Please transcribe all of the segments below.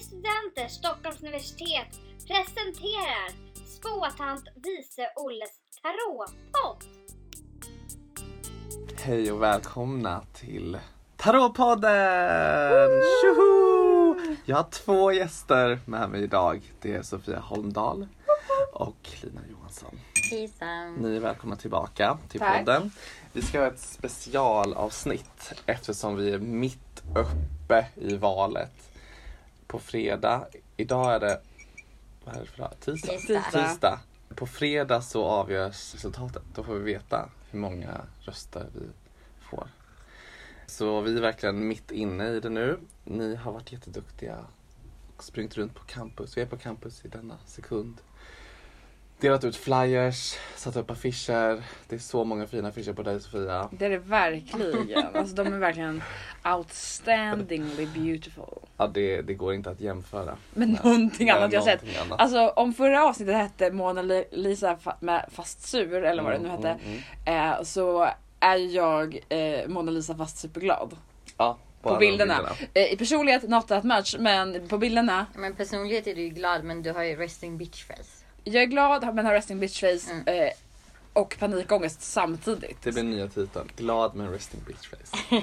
studenter Stockholms universitet presenterar Spåtant Vice Olles Tarotpodd. Hej och välkomna till Tarotpodden! Tjoho! Jag har två gäster med mig idag. Det är Sofia Holmdahl och Lina Johansson. Hejsan. Ni är välkomna tillbaka till Ehm. Tack. podden. Vi ska ha ett specialavsnitt eftersom vi är mitt uppe i valet. På fredag, idag är det, vad är det för dag? Tisdag? Tisdag. Tisdag. På fredag så avgörs resultatet. Då får vi veta hur många röster vi får. Så vi är verkligen mitt inne i det nu. Ni har varit jätteduktiga och sprungit runt på campus. Vi är på campus i denna sekund delat ut flyers, satt upp affischer. Det är så många fina affischer på dig Sofia. Det är det verkligen. Alltså de är verkligen outstandingly beautiful. Ja, det, det går inte att jämföra. Men Nej, någonting det är annat jag sett. någonting annat. Alltså om förra avsnittet hette Mona Li- Lisa fa- med fast sur eller vad det nu Mm, hette. mm, Eh, så är jag eh, Mona Lisa fast superglad. Ja, bara På de bilderna. Eh, I personlighet not that much men på bilderna. Men personlighet är du ju glad men du har ju resting bitch face. Jag är glad men har resting bitch face Mm. eh, och panikångest samtidigt. Det blir nya titeln. Glad men resting bitch face.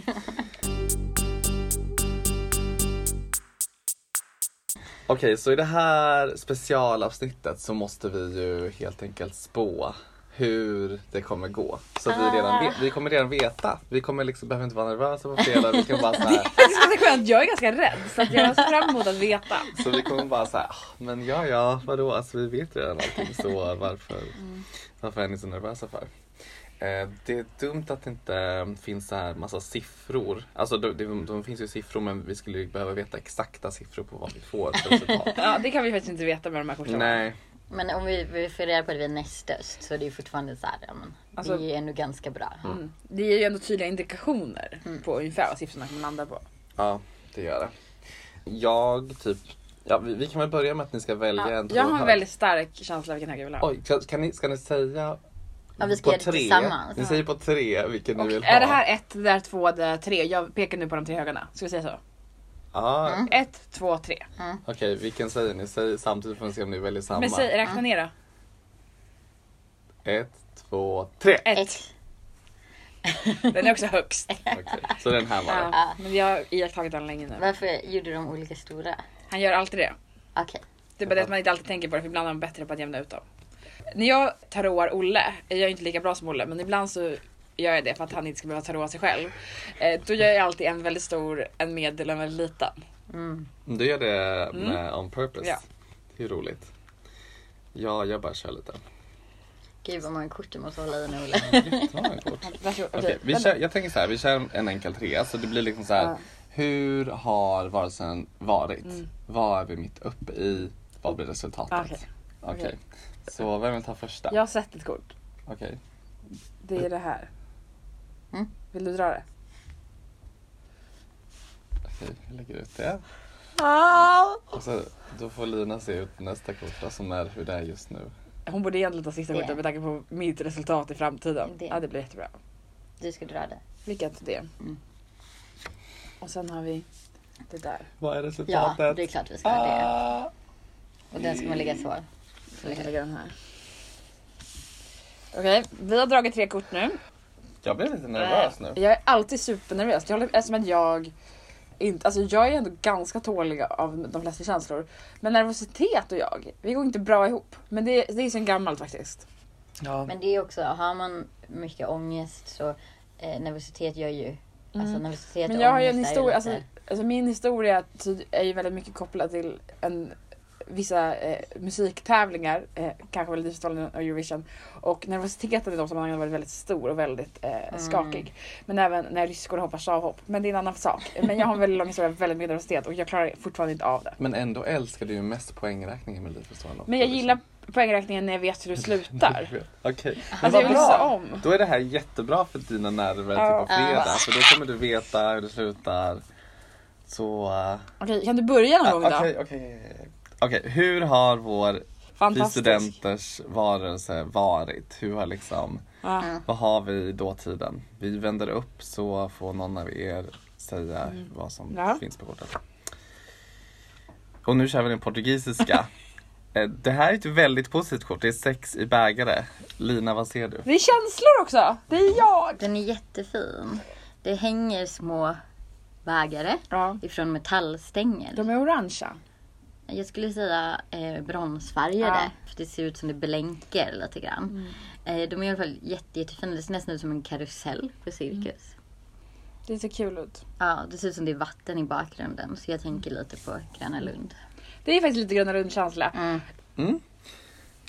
Okej, så i det här specialavsnittet så måste vi ju helt enkelt spå hur det kommer gå. Så vi, redan vet, vi kommer redan veta. Vi kommer liksom, behöver inte vara nervösa på fredag. Vi kan bara så här, Jag ska säga att jag är ganska rädd så att jag ser fram emot att veta. Så vi kommer bara såhär, "Ah, men ja ja, vadå, alltså vi vet redan allting så varför, Mm. varför är ni så nervösa för? Eh, det är dumt att det inte finns så här massa siffror. Alltså de, de, de finns ju siffror men vi skulle ju behöva veta exakta siffror på vad vi får för resultat. Ja, det kan vi faktiskt inte veta med de här korten. Nej, Men om vi vi får reda på det vid näst öst så det är ju fortfarande så här, ja, men Alltså- det är ju ändå ganska bra. Det ger ju ändå tydliga indikationer Mm. på ungefär vad siffrorna kommer landa på. ja det gör det. Jag typ, ja vi, vi kan väl börja med att ni ska välja en Jag har tråd. en väldigt stark känsla vilken hög jag vill ha. Oj, kan, kan ni, ska ni säga Ja, vi ska på göra det tre? tillsammans. Ni säger på tre vilken ni vill ha. Är det här ett, det där två, det där tre? Jag pekar nu på de tre högarna. Ska vi säga så? Ja, Mm. Ett, två, tre. Okej, vilken säger ni? Säg samtidigt får ni se om ni väljer samma. Mm. Men säg, räkna ner då. Ett, två, tre! Ett. Ett. Den är också högst. Okej, Så den här var det. Ja, men vi har iakttagit den länge nu. Varför gjorde de olika stora? Han gör alltid det. Okej. Det är bara det att man inte alltid tänker på det för ibland är man bättre på att jämna ut dem. När jag taroar Olle, jag är inte lika bra som Olle men ibland så gör jag det för att han inte ska behöva taroa sig själv. Eh, Då gör jag alltid en väldigt stor, en medel och en väldigt liten. Du gör det med on purpose. Mm. Ja. Det är ju roligt. Ja, jag bara kör lite. Gud vad många kort du måste hålla i nu Olle. Ta en kort. Varsågod. Okej, vi kör, jag tänker så här, vi kör en enkel trea. Så det blir liksom så här. Hur har varelsen varit? Vad är vi mitt uppe i? Vad blir resultatet? Mm. Okej. Okej. Så vem vill ta första? Jag har sett ett kort. Okej. Det är det här. Mm. Vill du dra det? Okej, jag lägger ut det. Och så, då får Lina se ut nästa kort då, som är hur det är just nu. Hon borde egentligen ta sista Det. kortet med tanke på mitt resultat i framtiden. Det. Ja, det blir jättebra. Du ska dra det. Lycka till det. Och sen har vi det där. Vad är Ja, resultatet? det är klart vi ska ha det. Ah. Och den ska man lägga så. Vi kan lägga den här. Okej, vi har dragit tre kort nu. Jag blir lite nervös nu. Eh, Jag är alltid supernervös. Jag håller, eftersom att jag inte, alltså jag är ändå ganska tålig av de flesta känslor. Men nervositet och jag, vi går inte bra ihop. Men det, det är sen gammalt faktiskt. Ja. Men det är också, har man mycket ångest så eh, nervositet gör ju... Alltså nervositet Mm. Men och jag har ju en ångest är historia, lite- alltså, alltså min historia tyd- är ju väldigt mycket kopplad till en, vissa eh, musiktävlingar, eh, kanske Melodifestivalen och Eurovision. Och nervositeten i de sammanhangen har varit väldigt stor och väldigt eh, skakig. Men även när ryskor hoppar stavhopp. Men det är en annan sak. Men jag har en väldigt lång historia, väldigt mycket nervositet och jag klarar fortfarande inte av det. Men ändå älskar du ju mest poängräkning i Melodifestivalen. Men jag gillar poängräkningen när jag vet hur det slutar. Okej, okay. Alltså jag vill visa om. Då är det här jättebra för dina nerver Ja. till på fredag. För då kommer du veta hur det slutar. Så... eh, Okej, kan du börja någon gång då? Okej, okej. Okej, hur har vår vi Fantastiskt. studenters varelse varit? Hur har liksom... Ja. Vad har vi i dåtiden? Vi vänder upp så får någon av er säga vad som Mm. Ja. finns på kortet. Och nu kör vi den portugisiska. Eh, Det här är ett väldigt positivt kort. Det är sex i bägare. Lina, vad ser du? Det är känslor också! Det är jag! Den är jättefin. Det hänger små bägare Ja. ifrån metallstänger. De är orangea. Jag skulle säga eh, bronsfärgade. Ja. Mm. För det ser ut som det blänker lite grann. Eh, de är i alla fall jätte, jättefina. Det ser nästan ut som en karusell på cirkus. Mm. Det ser kul ut. Ja, det ser ut som det är vatten i bakgrunden. Så jag tänker lite på Gröna Lund. Det är faktiskt lite Gröna Lund-känsla.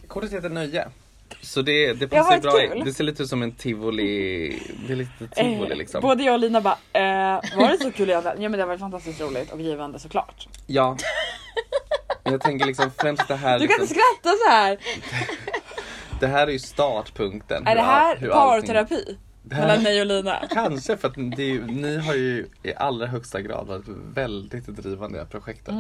Kortet heter Nöje. Så det, det Ja, passar vad bra. i- kul. Det ser lite ut som en tivoli. Det är lite tivoli Eh, liksom. Både jag och Lina bara, eh, var det så kul? Jag bara, ja men det var fantastiskt roligt och givande såklart. Ja. Jag tänker liksom främst det här. Du kan inte Liksom, skratta så här. det här är ju startpunkten. Är det hur här all- hur allting- parterapi? Det här- Mellan mig och Lina? Kanske för att det är, ju- ni har ju i allra högsta grad varit väldigt drivande i det här projektet.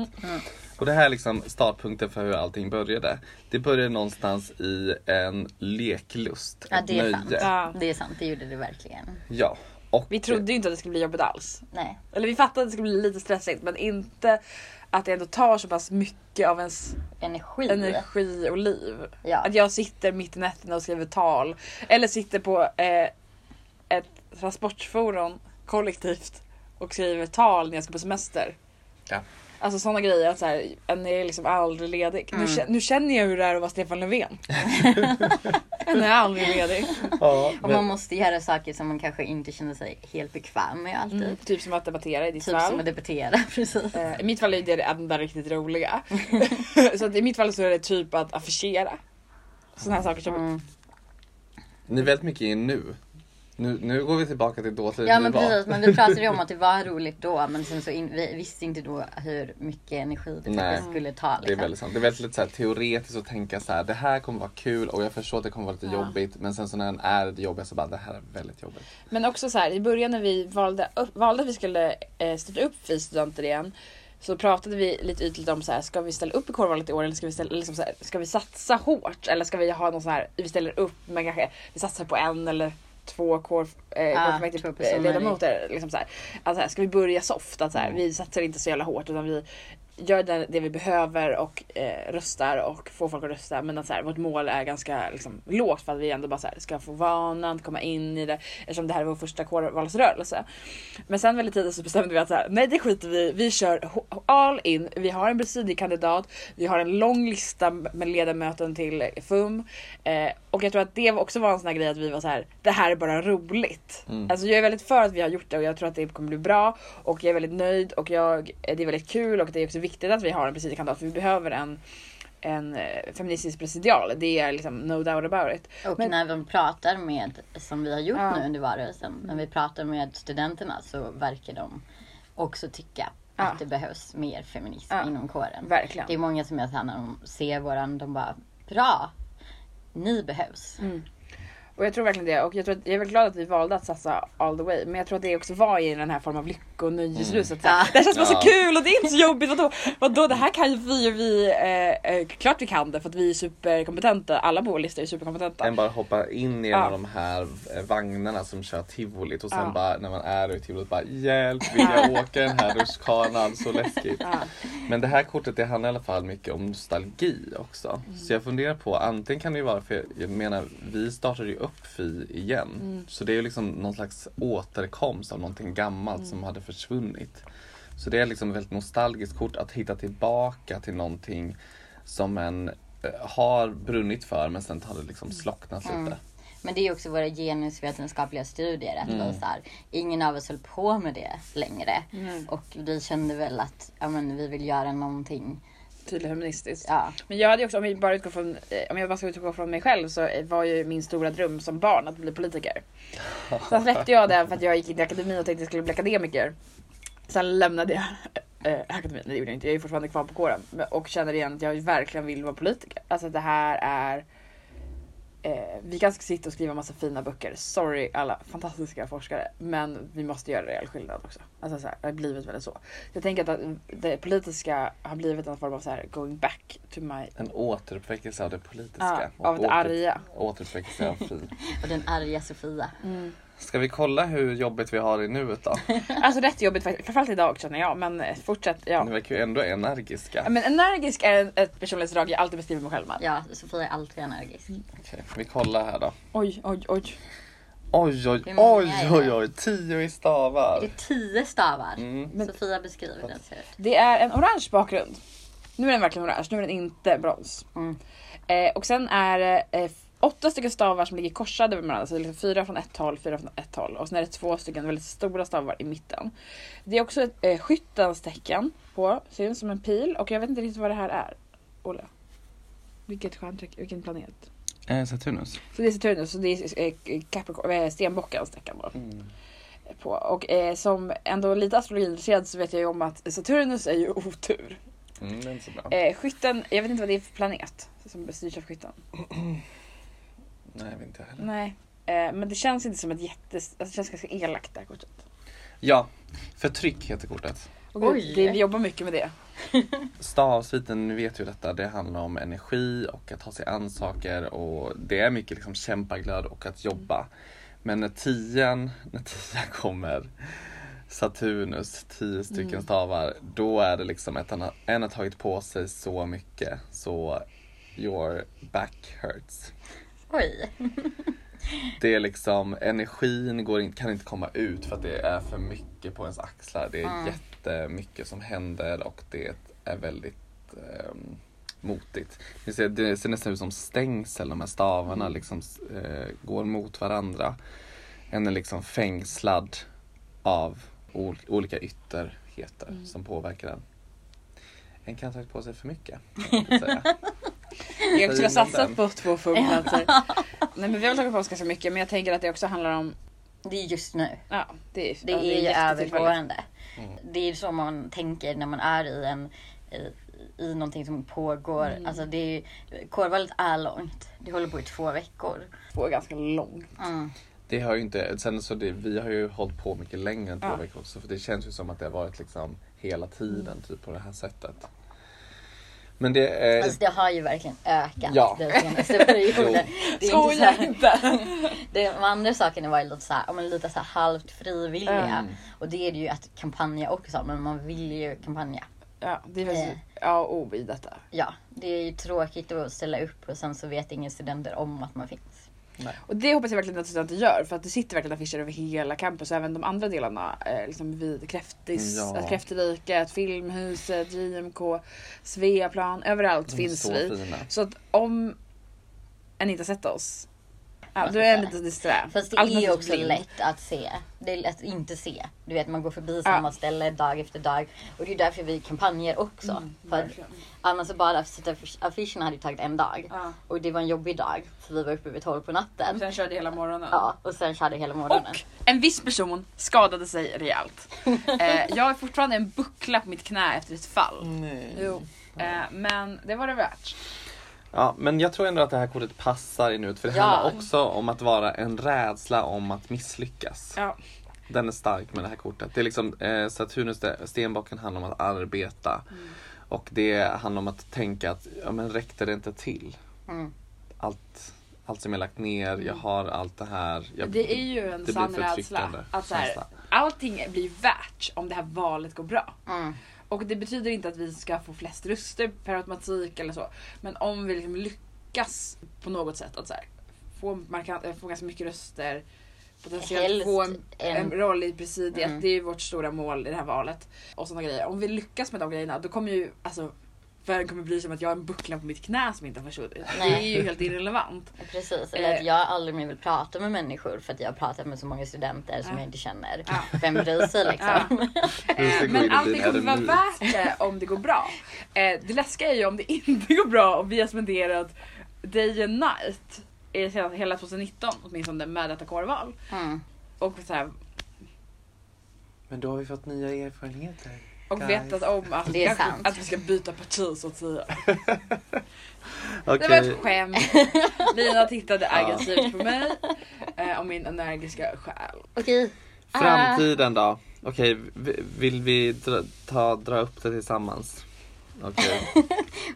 Och det här är liksom startpunkten för hur allting började. Det började någonstans i en leklust, Ja, ett det är sant. nöje. Ja. Det är sant, det gjorde det verkligen. Ja. Och Vi trodde ju inte att det skulle bli jobbigt alls. Nej. Eller vi fattade att det skulle bli lite stressigt men inte att det ändå tar så pass mycket av ens Energi. energi och liv. Ja. Att jag sitter mitt i nätterna och skriver tal. Eller sitter på eh, ett transportforum kollektivt och skriver tal när jag ska på semester. Ja. Alltså sådana grejer. Att så här, en är liksom aldrig ledig. Nu, kä- nu känner jag hur det är att vara Stefan Löfven. en är aldrig ledig. Ja, Och man måste göra saker som man kanske inte känner sig helt bekväm med alltid. Mm. Typ som att debattera i ditt Typ fall. som att debattera, precis. Eh, I mitt fall är det det enda riktigt roliga. så att i mitt fall så är det typ att affischera. Sådana här saker som... Mm. Ni är väldigt mycket i nu. nu. Nu går vi tillbaka till dåtid. Ja vi men var. precis, men vi pratade ju om att det var roligt då men sen så in, vi visste inte då hur mycket energi det Nej. faktiskt skulle ta. Liksom. Det är väldigt sant. Det är väldigt lite så här teoretiskt att tänka så här. Det här kommer vara kul och jag förstår att det kommer vara lite jobbigt. Men sen så när den är det jobbiga så bara det här är väldigt jobbigt. Men också så här, i början när vi valde, upp, valde att vi skulle eh, starta upp Vi studenter igen. Så pratade vi lite ytligt om så här, ska vi ställa upp i kårvalet i år eller ska vi, ställa, liksom så här, ska vi satsa hårt? Eller ska vi ha någon sån här, vi ställer upp men kanske vi satsar på en eller två kår, eh, Ja, två kårfullmäktige- personer. ledamöter. Liksom så här. Alltså, så här, ska vi börja soft? Att, så här, vi satsar inte så jävla hårt utan vi gör det, det vi behöver och eh, röstar och får folk att rösta. Men att, så här, vårt mål är ganska liksom, lågt för att vi ändå bara så här, ska få vanan, komma in i det. Eftersom det här är vår första kårvalsrörelse. Men sen väldigt tidigt så bestämde vi att så här, nej det skiter vi i. Vi kör ho- all in. Vi har en presidiekandidat. Vi har en lång lista med ledamöter till FUM. Eh, och jag tror att det också var en sån här grej att vi var så här, det här är bara roligt. Alltså jag är väldigt för att vi har gjort det och jag tror att det kommer bli bra. Och jag är väldigt nöjd och jag, eh, det är väldigt kul och det är också viktigt att vi har en presidiekandidat för vi behöver en en eh, feministisk presidial, det är liksom no doubt about it. Och Men- när de pratar med, som vi har gjort Ja. Mm. nu under valrörelsen, när vi pratar med studenterna så verkar de också tycka Ja. att det behövs mer feminism Ja. inom kåren. Verkligen. Det är många som jag så här, när de ser våran, de bara bra, ni Mm. behövs. Och jag tror verkligen det. Och jag, tror att, jag är väldigt glad att vi valde att satsa all the way. Men jag tror att det också var i den här formen av lycko och nöjesruset. Mm. Ja. Det här känns bara Ja. så kul och det är inte så jobbigt. Vadå? Vadå? Det här kan ju vi och vi. Eh, eh, klart vi kan det för att vi är superkompetenta. Alla på vår lista är superkompetenta. Än bara hoppa in i en av Ja. de här eh, vagnarna som kör tivolit och sen Ja. bara när man är i tivolit bara hjälp vill jag åka den här rutschkanan så läskigt. Ja. Men det här kortet det handlar i alla fall mycket om nostalgi också. Mm. Så jag funderar på antingen kan det ju vara för jag menar vi startade ju upp FI igen. Mm. Så det är ju liksom någon slags återkomst av någonting gammalt Mm. som hade försvunnit. Så det är liksom ett väldigt nostalgiskt kort att hitta tillbaka till någonting som en eh, har brunnit för men sen har det liksom slocknat Mm. lite. Men det är ju också våra genusvetenskapliga studier. Att vi så här, ingen av oss höll på med det längre. Och vi kände väl att ja, men, vi vill göra någonting. Tydligt feministiskt. Ja. Men jag hade ju också, om jag bara utgår från, eh, om jag bara ska utgå från mig själv så eh, var ju min stora dröm som barn att bli politiker. Sen släppte jag det för att jag gick in i akademin och tänkte att jag skulle bli akademiker. Sen lämnade jag eh, akademin, nej det gjorde jag inte, jag är ju fortfarande kvar på kåren. Men- Och känner igen att jag verkligen vill vara politiker. Alltså det här är Eh, vi kan sitta och skriva massa fina böcker. Sorry alla fantastiska forskare. Men vi måste göra reell skillnad också. Alltså så här, det har blivit väldigt så. Jag tänker att det politiska har blivit en form av så här going back to my... En återuppväckelse av det politiska. Ja, och av det åter- arga. Återuppväckelse av fri. Och den arga Sofia. Ska vi kolla hur jobbigt vi har i nuet då? Alltså rätt jobbigt faktiskt, framförallt idag känner jag men eh, fortsätt. Ja. Mm. Ni verkar ju ändå energiska. Ja, Men energisk är en- ett personlighetsdrag jag alltid beskriver mig själv med. Ja, Sofia är alltid energisk. Okej, vi kollar här då. Oj, oj, oj. Oj, oj, Hur många oj, är det? oj, oj, tio i stavar. Det är tio stavar. Mm. Men- Sofia beskriver den ser ut. Det är en orange bakgrund. Nu är den verkligen orange, nu är den inte brons. Mm. Eh, och sen är det eh, åtta stycken stavar som ligger korsade med varandra. Så det är liksom fyra från ett håll, fyra från ett håll. Och sen är det två stycken väldigt stora stavar i mitten. Det är också ett eh, skyttens tecken på, syns som en pil. Och jag vet inte riktigt vad det här är. Olle. Vilket stjärnträck, vilken planet? Eh, Saturnus. Så det är Saturnus, så det är eh, Capricorn, eh, stenbockens tecken då på. Och eh, som ändå lite astrologiintresserad så vet jag ju om att Saturnus är ju otur. Mm, det är inte så bra. Eh, skytten, jag vet inte vad det är för planet som styrs av skytten. Nej, men inte jag heller. Nej. Eh, men det känns inte som ett jätte... Alltså, det känns ganska elakt det här kortet. Ja, förtryck heter kortet. Och gud, Oj. Det, vi jobbar mycket med det. Stavsviten vet ju detta. Det handlar om energi och att ta sig an saker och det är mycket liksom kämpaglöd och att jobba. Men när tian, när tian kommer Saturnus, tio stycken stavar, då är det liksom att en, har- en har tagit på sig så mycket så your back hurts. Oj. Det är liksom energin går in, kan inte komma ut för att det är för mycket på ens axlar. Det är jättemycket som händer och det är väldigt ehm, motigt. Ni ser, det ser nästan ut som stängsel de här stavarna liksom s- eh, går mot varandra. En är liksom fängslad av ol- olika ytterheter som påverkar den. En kan ha tagit på sig för mycket. kan man väl säga. Jag skulle ha Säger man satsat den? på två funkplatser. Nej men vi har väl tagit på oss ganska mycket men jag tänker att det också handlar om... Det är just nu. Ja, det är, Det ja, är ju jättetillfälligt. övergående. Det är så man tänker när man är i en i, i någonting som pågår. Alltså det är, ju- kårvalet är långt. Det håller på i två veckor. Två är ganska långt. Mm. Det har ju inte, sen så det, vi har ju hållit på mycket längre än två Ja. veckor också för det känns ju som att det har varit liksom hela tiden typ på det här sättet. Men det är... Alltså det har ju verkligen ökat Ja. den senaste perioden. Det är inte så Skoja här, inte! det, de andra sakerna var ju lite, så här, ja, men lite så här halvt frivilliga. Mm. Och det är det ju att kampanja också, men man vill ju kampanja. Ja, det är faktiskt Eh. A och O i detta. Ja, det är ju tråkigt att ställa upp och sen så vet ingen studenter om att man finns. Och det hoppas jag verkligen att studenter gör för att det sitter verkligen affischer över hela campus och även de andra delarna. Eh, liksom vid Kräftis, Ja. Kräfteriket, Filmhuset, JMK, Sveaplan. Överallt De är finns så vi. fina. Så att om en inte har sett oss. Ja, Man då är ska en lite disträ. Fast det Alternativt är också blind. lätt att se. Det är lätt att inte se. Du vet man går förbi samma ställe dag efter dag. Och det är därför vi kampanjer också. för att, Mm, verkligen. annars så bara att sätta affisch- affischerna hade ju tagit en dag. Ja. Och det var en jobbig dag. För vi var uppe vid 12 på natten. Sen körde hela morgonen. Ja, och sen körde hela morgonen. Och en viss person skadade sig rejält. Eh, jag har fortfarande en buckla på mitt knä efter ett fall. Jo. Eh, men det var det värt. Ja, men jag tror ändå att det här kortet passar i nuet för det Ja. handlar också om att vara en rädsla om att misslyckas. Ja. Den är stark med det här kortet. Det är liksom eh, Saturnus, det- stenbocken handlar om att arbeta. Mm. Och det handlar om att tänka att ja, men räckte det inte till? Mm. Allt, allt som jag lagt ner, jag har allt det här. Jag, Mm. Det är ju en blir sann förtryckande rädsla. Att så här, känsla. allting blir värt om det här valet går bra. Mm. Och det betyder inte att vi ska få flest röster per automatik eller så. Men om vi liksom lyckas på något sätt att så här, få, markant, äh, få ganska mycket röster. Potentiellt Helst få en, en- en roll i presidiet. Mm. Det är ju vårt stora mål i det här valet. Och sådana grejer. Om vi lyckas med de grejerna då kommer ju alltså världen kommer bli som att jag har en buckla på mitt knä som inte har försvunnit. Det Nej. är ju helt irrelevant. Precis, eller att Eh. jag aldrig mer vill prata med människor för att jag har pratat med så många studenter som Ja. jag inte känner. Ja. Vem bryr sig liksom? Vi ska Eh, gå in Men i allting din kommer vara eremit. värt det om det går bra. Eh, Det läskiga är ju om det inte går bra och vi har spenderat day and night i hela- hela 2019 åtminstone med detta kårval. Mm. Och, så här, Men då har vi fått nya erfarenheter. och Guys. vetat om att, Det är kanske- sant. att vi ska byta parti så att säga. Det var Okej, ett skämt. Lina tittade aggressivt på mig eh, och min energiska själ. Okej. framtiden då? Okej, vi- vill vi dra, ta, dra upp det tillsammans? Okej, Ah,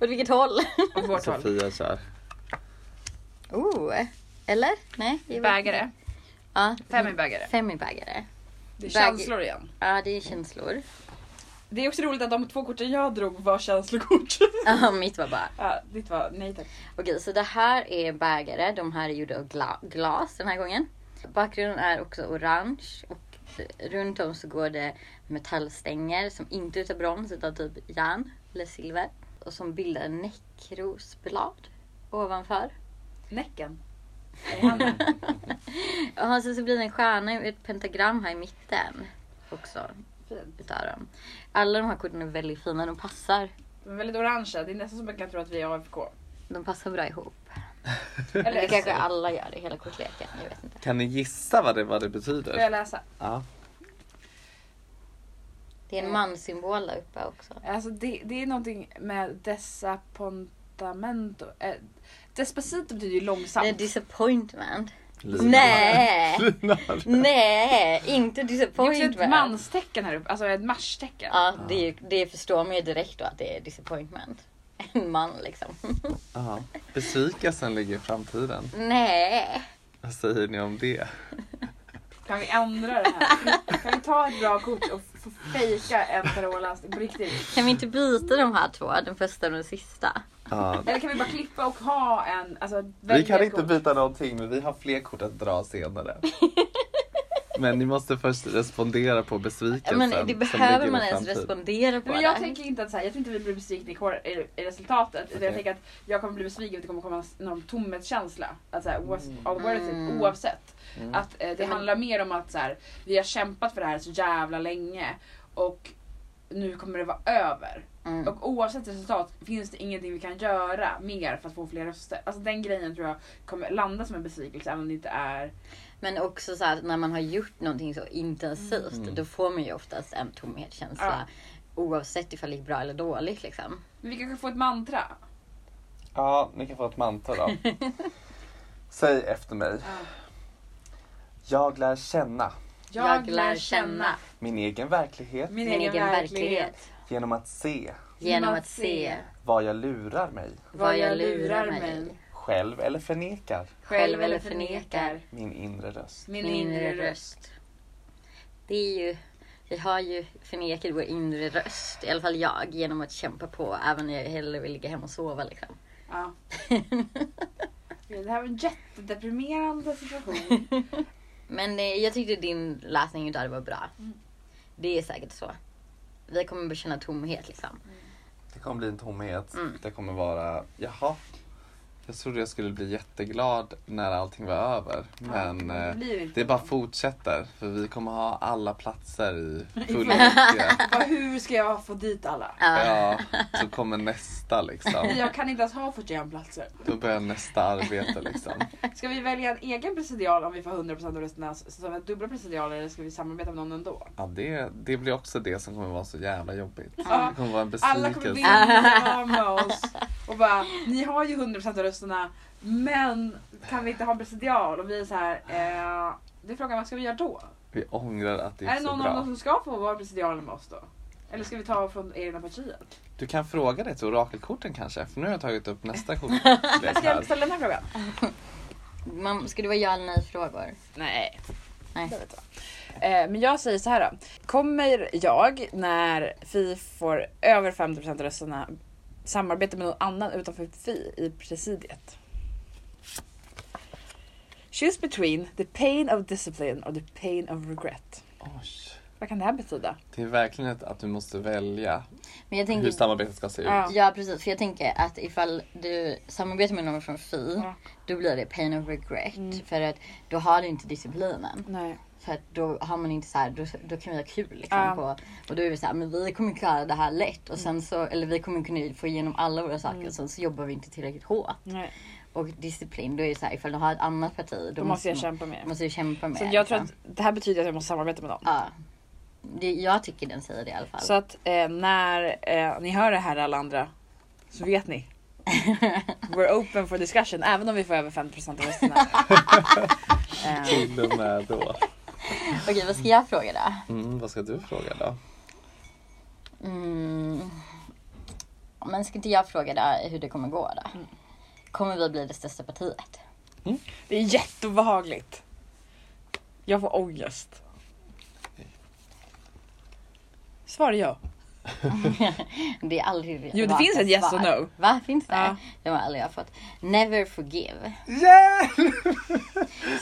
Åt vilket håll? Åt vårt håll. Sofia kör. Oh. Eller? Nej? det var- Bägare. Ja, Fem är bögare. fem är bögare. Det är Bög- känslor igen. Ja, det är känslor. Det är också roligt att de två korten jag drog var känslokort. Ja, mitt var bara. ja, ditt var nej tack. Okej, så det här är bägare. De här är gjorda av gla- glas den här gången. Bakgrunden är också orange och runt om så går det metallstänger som inte är av brons utan typ järn eller silver. Och som bildar näckrosblad ovanför. Näcken. Är han med? Och sen så blir det en stjärna och ett pentagram här i mitten också Fint. utav dem. Alla de här korten är väldigt fina. De passar. De är väldigt orangea. Det är nästan som man kan tro att vi är AFK. De passar bra ihop. Eller Det kanske SL. alla gör i hela kortleken. Jag vet inte. Kan ni gissa vad det, vad det Får jag betyder? läsa? Ja. Det är en manssymbol där uppe också. Alltså det, det är någonting med desapontamento. Eh, despacito betyder ju långsamt. Det är disappointment. Lina. Nej! Lina. Nej, inte Det är också disappointment. ett manstecken här uppe, alltså ett marstecken. Ja, det, är ju- det förstår man ju direkt då att det är disappointment. En man liksom. Ja. Besvikelsen ligger i framtiden. Nej. Vad säger ni om det? Kan vi ändra det här? kan vi ta ett bra kort och få fejka en tarotlösning på riktigt? Kan vi inte byta de här två? Den första och den sista. Ja. Eller kan vi bara klippa och ha en, alltså Vi välja kan ett inte kort? byta någonting men vi har fler kort att dra senare. Men ni måste först respondera på besvikelsen. Men det som behöver ligger man i ens framtiden. respondera på. Men jag det. tänker inte att så här, jag tror inte vi blir besvikna i, kor- i, i resultatet. Utan jag Okej. tänker att jag kommer bli besviken och det kommer komma en enorm tomhetskänsla. Att så här, was Mm. all worth it oavsett. Att eh, det handlar mer om att så här, vi har kämpat för det här så jävla länge och nu kommer det vara över. Mm. Och oavsett resultat finns det ingenting vi kan göra mer för att få fler röster. Alltså den grejen tror jag kommer landa som en besvikelse även om det inte är... Men också så här, när man har gjort någonting så intensivt Mm. då får man ju oftast en tomhetskänsla. Oavsett ifall det gick bra eller dåligt liksom. Men vi kanske får ett mantra. Ja, ni kan få ett mantel då. Säg efter mig. Jag lär känna Jag lär känna min egen verklighet min, Min egen verklighet. genom att se Genom att se vad jag lurar mig vad jag lurar mig. själv eller förnekar Själv eller förnekar. min inre röst. Min, min inre röst. Det är ju, vi har ju förnekat vår inre röst, i alla fall jag, genom att kämpa på även när jag hellre vill ligga hemma och sova. Liksom. Ja. Det här var en jättedeprimerande situation. Men eh, jag tyckte din läsning utav det var bra. Det är säkert så. Vi kommer börja känna tomhet liksom. Det kommer bli en tomhet. Mm. Det kommer vara, jaha. Jag trodde jag skulle bli jätteglad när allting var över. Men det eh, blir inte det bara så. fortsätter. För vi kommer ha alla platser i fullmäktige. Bara, hur ska jag få dit alla? Ja. Ja, så kommer nästa liksom. Jag kan inte ens ha 41 platser. Då börjar nästa arbete liksom. Ska vi välja en egen presidial om vi får 100% av rösterna så- som en dubbla presidialer eller ska vi samarbeta med någon ändå? Ja, det, det blir också det som kommer vara så jävla jobbigt. Ja. Det kommer vara en Alla kommer besvikelse. vilja med oss och bara ni har ju 100% av rösterna men kan vi inte ha en presidial? Och vi är så här, eh, det är frågan vad ska vi göra då? Vi ångrar att det Är är det så någon av dem bra. som ska få vara presidial med oss då? Eller ska vi ta från egna partiet? Du kan fråga det till orakelkorten kanske. För nu har jag tagit upp nästa kort. Jag ska jag ställa den här frågan? Man, ska det vara ja eller nej frågor? Nej. Nej. Det vet jag. Eh, Men jag säger så här då. Kommer jag när Fi får över 50% av rösterna samarbeta med någon annan utanför Fi i presidiet? Choose between the pain of discipline or the pain of regret. Oj. Vad kan det här betyda? Det är verkligen ett, att du måste välja Men jag hur tänker samarbetet ska se ut. Ja. Ja precis, för jag tänker att ifall du samarbetar med någon från FI Ja. då blir det pain of regret. För att då har du inte disciplinen. Nej. För att då har man inte så här, då, då kan vi ha kul liksom. Ja. På, och då är vi så här, men vi kommer klara det här lätt. Och sen så, eller vi kommer kunna få igenom alla våra saker. Mm. Och sen så jobbar vi inte tillräckligt hårt. Nej. Och disciplin, då är det så här, ifall du har ett annat parti. Då, Då måste jag man- kämpa mer. Måste du kämpa med. Så jag tror liksom. att det här betyder att jag måste samarbeta med någon. Ja. Det, jag tycker den säger det i alla fall. Så att eh, när eh, ni hör det här alla andra så vet ni. We're open for discussion även om vi får över 50% av rösterna. eh, Till och med då. Okej, vad ska jag fråga då? Mm, vad ska du fråga då? Mm. Men ska inte jag fråga dig hur det kommer gå då? Mm. Kommer vi bli det största partiet? det är jätteobehagligt. Jag får ångest. Svar ja. Det är aldrig Jo, det raka finns ett yes svar. och no. Va? Finns det? Ja. Det har jag aldrig fått. Never forgive.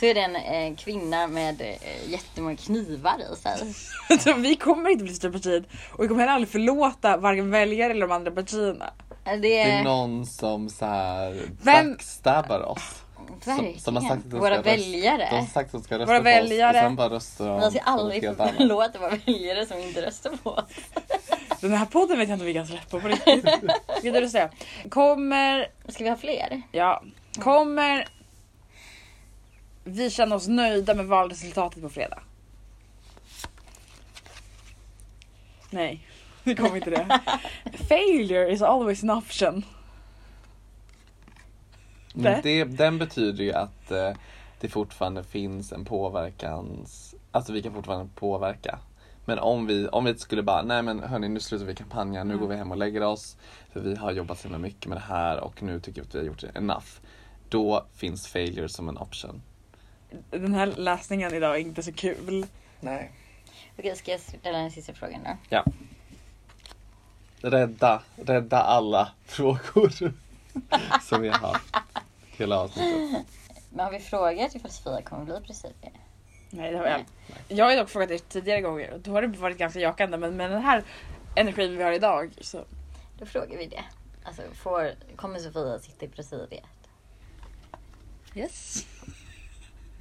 Så är det en eh, kvinna med eh, jättemånga knivar i sig. Så vi kommer inte bli största partiet och vi kommer heller aldrig förlåta varken väljare eller de andra partierna. Det Det är är någon som så här Eh. Vem- backstabbar oss. Som, verkligen som har sagt att de ska våra rösta- väljare. De har sagt att de ska rösta Våra på väljare. oss och sen bara röstar de Man ska på något aldrig helt få annat. förlåta våra väljare som inte röstar på oss. Den här podden vet jag inte om vi kan släppa på riktigt. Ska du säga? Kommer, Ska vi ha fler? ja, kommer vi känna oss nöjda med valresultatet på fredag? Nej, det kommer inte det. Failure is always an option. Men Mm, det, den betyder ju att eh, det fortfarande finns en påverkans... Alltså vi kan fortfarande påverka. Men om vi, om vi skulle bara, nej men hörni nu slutar vi kampanjen, nu går vi hem och lägger oss. För vi har jobbat så himla mycket med det här och nu tycker vi att vi har gjort enough. Då finns failure som en option. Den här läsningen idag är inte så kul. Nej. Okej, ska jag ställa den sista frågan då? Ja. Rädda, rädda alla frågor som vi har haft hela avsnittet. Men har vi frågat ifall Sofia kommer bli presidie? Nej det har jag Jag har ju dock frågat er tidigare gånger och då har det varit ganska jakande men med den här energin vi har idag så Då frågar vi det. Alltså, får, kommer Sofia sitta i presidiet? yes.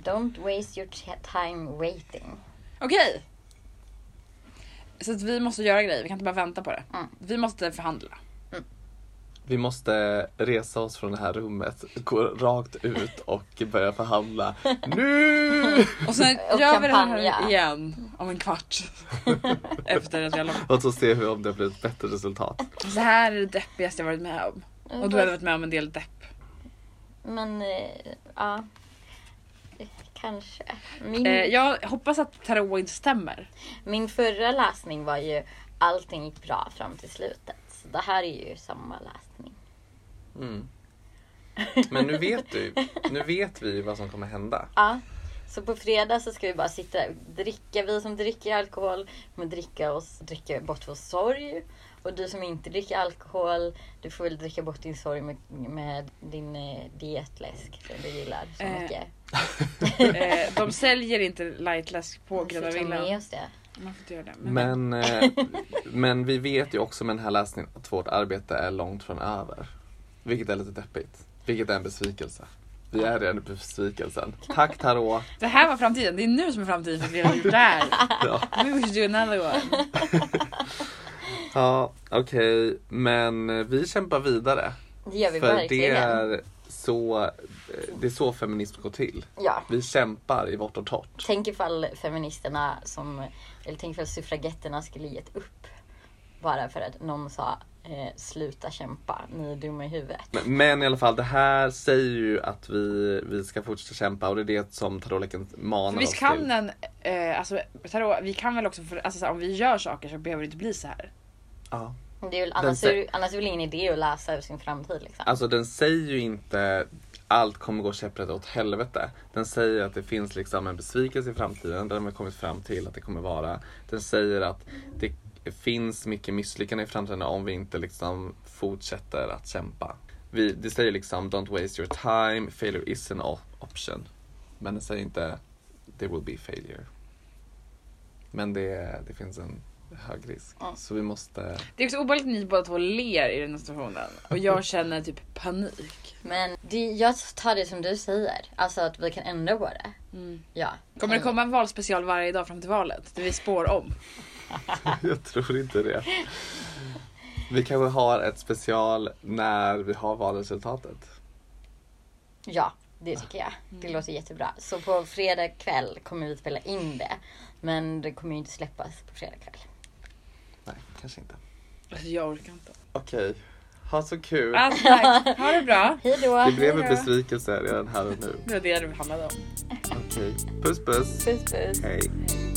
Don't waste your t- time waiting. Okej. Så att vi måste göra grejer, vi kan inte bara vänta på det. Mm. Vi måste förhandla. Vi måste resa oss från det här rummet, gå rakt ut och börja förhandla nu! Och sen Och gör vi det här kampanja. igen om en kvart. Efter att vi har lagt. Och så ser vi om det blir ett bättre resultat. Så här är det deppigaste jag varit med om. Och du har varit med om en del depp. Mm, Men, eh, ja. Kanske. Min, Eh, jag hoppas att tarot inte stämmer. min förra läsning var ju allting gick bra fram till slutet. Så det här är ju samma läsning. Mm. Men nu vet du, nu vet vi vad som kommer hända. Ja. Så på fredag så ska vi bara sitta och dricka. Vi som dricker alkohol kommer dricka, oss, dricka bort vår sorg. Och du som inte dricker alkohol, du får väl dricka bort din sorg med, med din eh, dietläsk som du gillar så Eh, mycket. Eh, de säljer inte lightläsk på Vi Gröna får ta med Villan. oss det. Man får inte göra det. Men, Men, eh, men vi vet ju också med den här läsningen att vårt arbete är långt från över. Vilket är lite deppigt. Vilket är en besvikelse. Vi är redan i besvikelsen. Tack Tarot! Det här var framtiden, det är nu som är framtiden för att vi har gjort det här. Ja, We wish you another one. ja okej. Men eh, vi kämpar vidare. Det gör vi För det verkligen. är, så, eh, det är så feminism går till. Ja. Vi kämpar i vårt och torrt. Tänk ifall feministerna som, eller tänk ifall suffragetterna skulle gett upp. Bara för att någon sa eh, sluta kämpa, ni är dumma i huvudet. Men i alla fall, det här säger ju att vi, vi ska fortsätta kämpa och det är det som tarotleken manar Vi oss kan till. den, eh, alltså tarot, vi kan väl också, för, alltså, så här, om vi gör saker så behöver det inte bli så här. Ja. Det är väl, annars, Den är, annars är väl ingen idé att läsa över sin framtid liksom. Alltså den säger ju inte allt kommer gå käpprätt åt helvete. Den säger att det finns liksom en besvikelse i framtiden. Där de har kommit fram till att det kommer vara. Den säger att det finns mycket misslyckanden i framtiden om vi inte liksom fortsätter att kämpa. Vi, det säger liksom don't waste your time, failure is an o- option. Men den säger inte there will be failure. Men det, det finns en hög risk. Ja. Så vi måste... Det är också obehagligt att ni båda två ler i den här situationen och jag känner typ panik. Men det, jag tar det som du säger, alltså att vi kan ändra på det. Ja. Mm. Kommer det komma en valspecial varje dag fram till valet? Där vi spår om. Jag tror inte det. Vi kanske har ett special när vi har valresultatet. Ja, det tycker jag. Det Mm. låter jättebra. Så på fredag kväll kommer vi spela in det. Men det kommer ju inte släppas på fredag kväll. Nej, kanske inte. Alltså jag orkar inte. Okej, ha så kul. Alltså, tack. Ha det bra. Hej då! Det blev en besvikelse redan här och nu. Det var det det handlade om. Okej, puss puss. Puss puss! Hej. Hej.